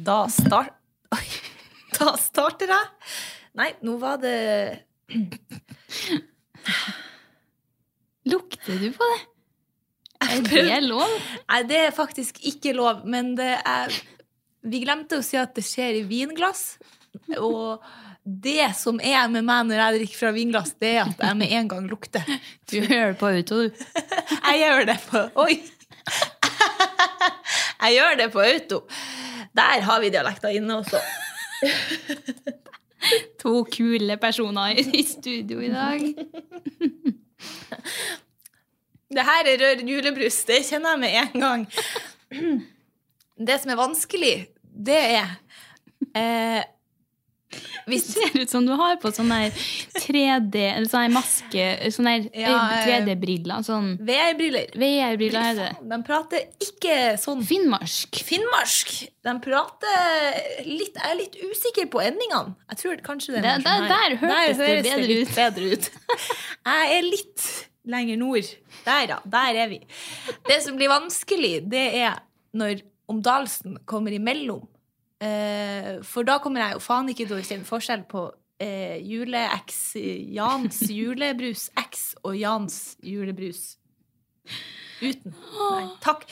Da start... Oi. Da starter jeg. Nei, nå var det Lukter du på det? Er det lov? Nei, det er faktisk ikke lov, men det er Vi glemte å si at det skjer i vinglass. Og det som er med meg når jeg drikker fra vinglass, det er at jeg med en gang lukter. Du hører på auto, du. Jeg gjør det på Oi! Jeg gjør det på auto. Der har vi dialekter inne også. To kule personer i i studio i dag. Det her er rød julebrus. Det kjenner jeg med en gang. Det som er vanskelig, det er eh, Det ser ut som du har på sånn der 3D eller Sånn der maske Sånn der Ja, øy- 3D-briller. Sånn VR-briller. VR-briller er det. De prater ikke sånn Finnmark. finnmark. De prater litt Jeg er litt usikker på endingene. Jeg tror kanskje det er Der- noe sånn her. der- der hørtes det bedre litt bedre ut. Jeg er litt lenger nord. Der, ja. Der er vi. Det som blir vanskelig, det er når Omdalsen kommer imellom. Eh, for da kommer jeg jo faen ikke til å kjenne forskjell på eh, jule-X, Jans julebrus-X og Jans julebrus uten. Nei, takk.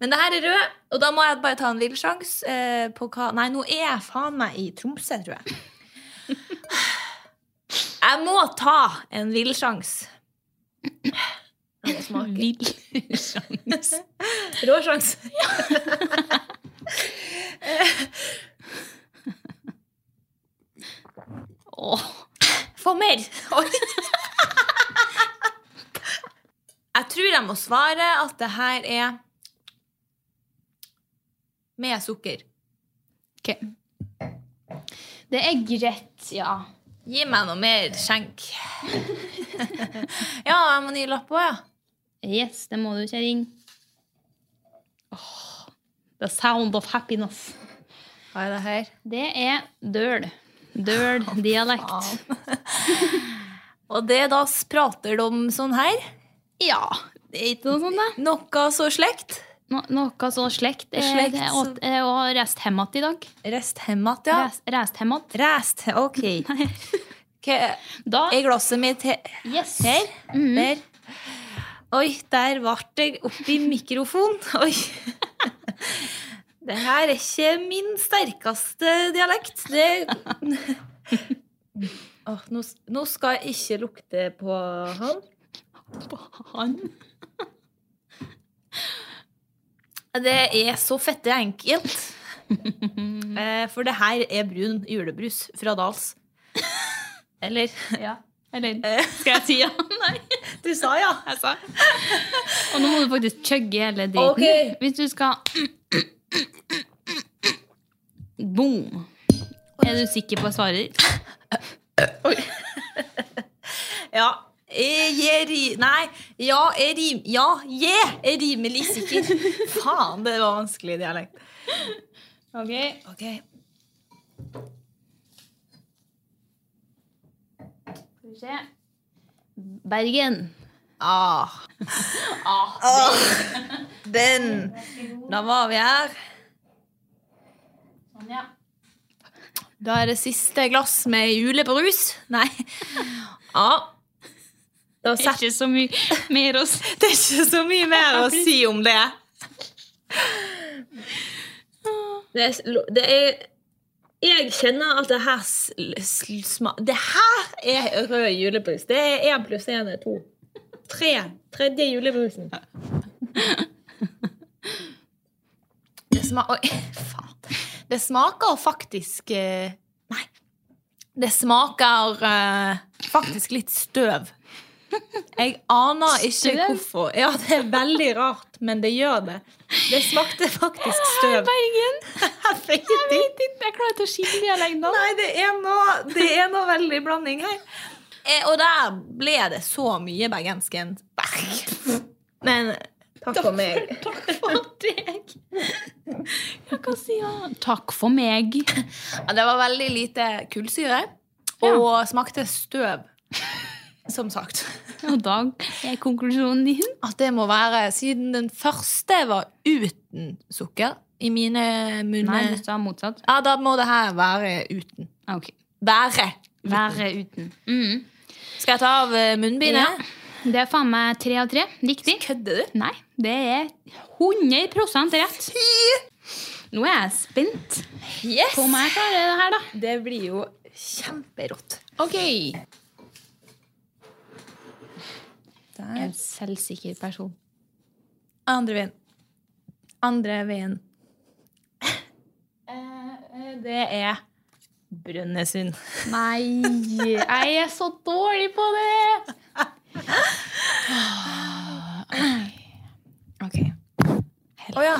Men det her er rød, og da må jeg bare ta en vill sjanse eh, på hva Nei, nå er jeg faen meg i Tromsø, tror jeg. Jeg må ta en vill sjanse. Det smaker. Vill sjans. Rå sjanse. Åh, Få mer! Oi. tror jeg må svare at det her er med sukker. Ok. Det er greit, ja. Gi meg noe mer skjenk. ja, jeg må ny lapp òg, ja. Yes, det må du, kjerring. Åh, the sound of happiness. Hva er det her? Det er døl. Døl dialekt. Og det da prater de om sånn her? Ja, det er ikke noe sånt, det. Noe så slekt? No, noe så slekt. eh, Slekt Det er som- åt- eh, og reist hemmat i dag. Resthemmat, ja. Reist, reist hemmat. Rest. Ok. Hva- Da Er glasset mitt he Yes. her? Mhm. Der. Oi, der ble jeg oppi mikrofonen. Oi. Det her er ikke min sterkeste dialekt. Det Åh, nå, s- nå skal jeg ikke lukte på han. Han. Det er så fette enkelt. Eh, For det her er brun julebrus fra Dals. Eller Ja. Eller skal jeg si ja? Nei. Du sa ja. Jeg sa. Og nå må du faktisk chugge hele driten. Ok. Hvis du skal Boom. Er du sikker på svaret ditt? Ja. Jeg er ri... Nei. Ja, jeg rim... Ja, jeg er rimelig sikker. Faen, det var vanskelig dialekt. Okay. Ok. Skal vi se. Bergen. Ah. Den. Da var vi her. Sånn, ja. Da er det siste glass med julebrus. Nei. Ja. Da Det er setter Ikke så mye mer å si. det er ikke så mye mer å si om det. Det er, det er Jeg kjenner at det her sl- sl- sma- Det her er rød julebrus. Det er én pluss én er to. Tre. Tredje julebrusen. Det sma... Oi, faen. Det smaker faktisk eh, Nei. Det smaker eh, faktisk litt støv. Jeg aner ikke Støv? hvorfor. Ja, det er veldig rart, men det gjør det. Det smakte faktisk støv. Bergen. Jeg vet ikke. Jeg klarer ikke å skille dialektene. Nei, det er noe, det er noe veldig blanding her. Eh, og der ble det så mye bergensken. Berg. Men takk for meg. Takk for deg. Jeg kan si ja. Takk for meg. Ja, Det var veldig lite kullsyre, og smakte støv. Som sagt. Og da er konklusjonen din. At det må være Siden den første var uten sukker i mine Nei, munner du sa motsatt. Ja, da må det her være uten. Ah, Ok. Være. Være uten. Mm. Skal jeg ta av eh, munnbindet? Det er faen meg tre av tre. Riktig. Kødder du? Nei, det er 100 rett. Nå er jeg spent Yes! på om jeg klarer det her, da. Det blir jo kjemperått. Ok. Jeg er en selvsikker person. Andre veien. Andre veien. Det er Brønnøysund. Nei, jeg er så dårlig på det! Ah, Ok. Å ja.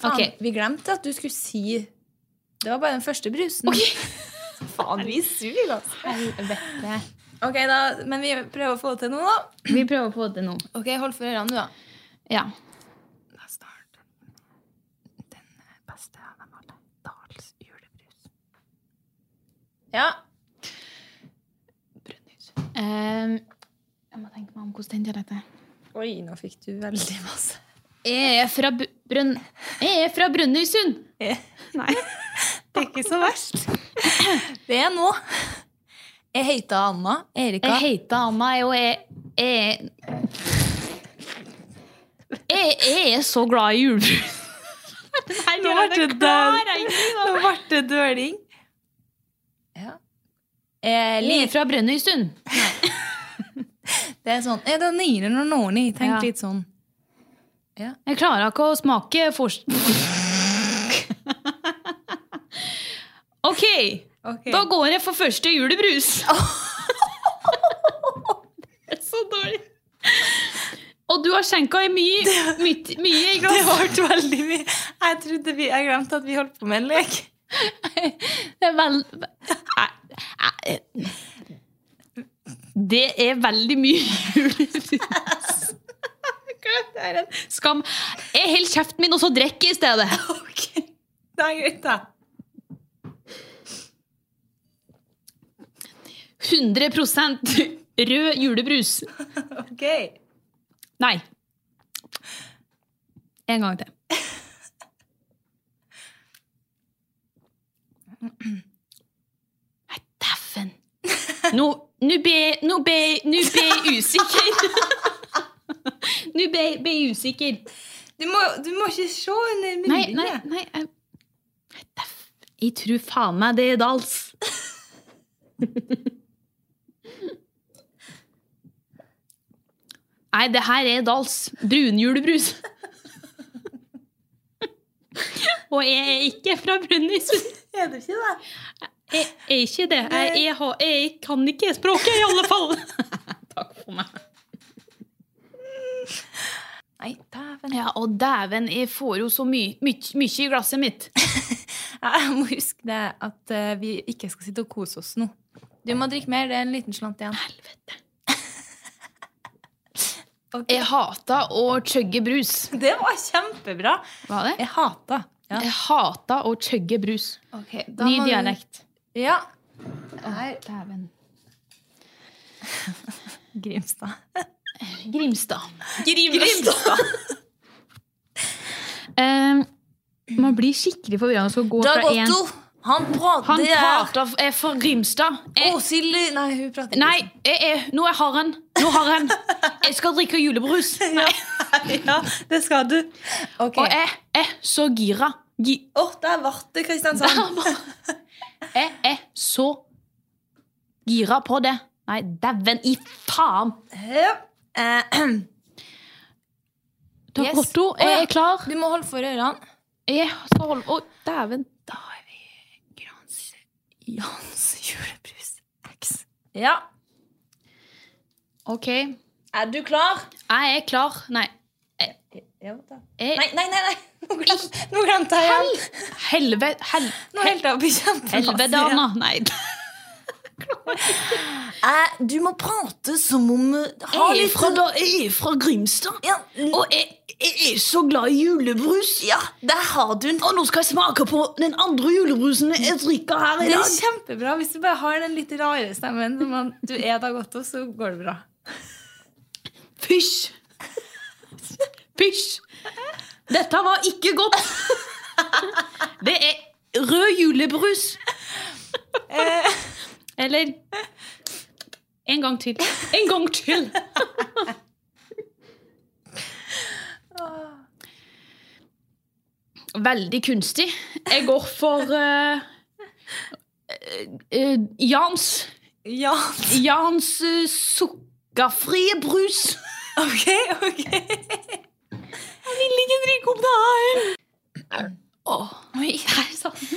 Faen, Ok. vi glemte at du skulle si Det var bare den første brusen. Faen, vi suger, altså. Helvete. Ok, da, men vi prøver å få det til nå, da. Vi prøver å få det nå. Ok, Hold for ørene, du, da. Ja. Da starter den beste av dem alle. Dals julebrus. Ja. Brønnøysund. Ehm, jeg må tenke meg om hvordan den dialekten er. Oi, nå fikk du veldig masse. Jeg er fra Bu- Brønn... Jeg er fra Brønnøysund! Nei. Eh, Det er ikke så verst. Det er nå. Jeg heter Anna Erika. Jeg heter Anna, jeg, og jeg jeg, jeg jeg er så glad i julebrus. Nei, Nå ble det Nå ble det døling. Ja. Eh, Jeg er liv. fra Brønnøysund. Det er sånn eh, Det er nyere når noen i. Tenk Ja. litt sånn. Jeg klarer ikke å smake fors... Ok, da går jeg for første julebrus. det er så dårlig. Og du har skjenka er mye, mye, mye i Det glass. ble veldig mye. Jeg trodde vi, jeg glemte at vi holdt på med en lek. Det er vel... Æ- æ- Det er veldig mye julebrus. Skam. Jeg holder kjeften min, og så drikker jeg i stedet. Ok, det er greit, da. 100 rød julebrus. Ok. Nei. En gang til. Nei, dæven. Nå nå ble nå ble- nå ble jeg usikker. Nå ble ble jeg usikker. Du må, du må ikke se under Nei, munnen. nei, nei. Jeg, Nei, dæven. jeg tror faen meg det er dals. Nei, det her er dals. Brunjulebrus. Og jeg er ikke fra Brønnøysund. Er det ikke det? Jeg er ikke det. Jeg, jeg, har, jeg kan ikke språket, i alle fall. Takk for meg. Nei, dæven. Ja, og dæven, jeg får jo så mye mye i glasset mitt. Jeg må huske det at eh, vi ikke skal sitte og kose oss nå. Du må drikke mer. Det er en liten slant igjen. Helvete. Ok. Jeg hata å chugge brus. Det var kjempebra. Var det? Jeg hata. Ja. Jeg hata å chugge brus. Okay, da Ny må du- dialekt. Ja. Dæven. Grimstad. Grimstad. Ehm, man blir skikkelig forvirra når man skal gå Dag fra en Otto, han prater Han der. prater f- er fra Grimstad. Jeg, Å, Silje Nei, hun prater ikke. nei, jeg, jeg, nå er har han. Nå har han. Jeg skal drikke julebrus. Nei. ja, det skal du. Ok. Og jeg er så gira. Gi, Å, der ble det Kristiansand. jeg er så gira på det. Nei, dæven i faen! Ja. Eh, Dag Yes. Otto, Å, ja. jeg er klar. Du må holde for ørene. Jeg skal holde Å, dæven. Da er vi Grans Jans julebrus X. Ja. OK. Jeg Er du klar? er klar. Nei. Ja da. Jeg, Nei, nei, nei. nei. Nå glemte, nå glemte jeg igjen. Helvete. Hel, Nå helt av helvete, Anna. Nei. Du må prate som om eh, Ha Jeg er litt fra, da- jeg er fra Grimstad. ja, Og jeg, jeg er så glad i julebrus. ja, der har du den. Og nå skal jeg smake på den andre julebrusen jeg drikker her i Det er dag. kjempebra. Hvis du bare har den litt rare stemmen som man- du er da godt hos, så går det bra. Pysj! Pysj! Dette var ikke godt. Det er rød julebrus. Eh. Eller En gang til. En gang til! Veldig kunstig. Jeg går for eh, eh, Jans Ja. Jans eh, sukkerfrie brus. Ok, ok. vil ikke drikke opp det her. Åh, oi, her sa den.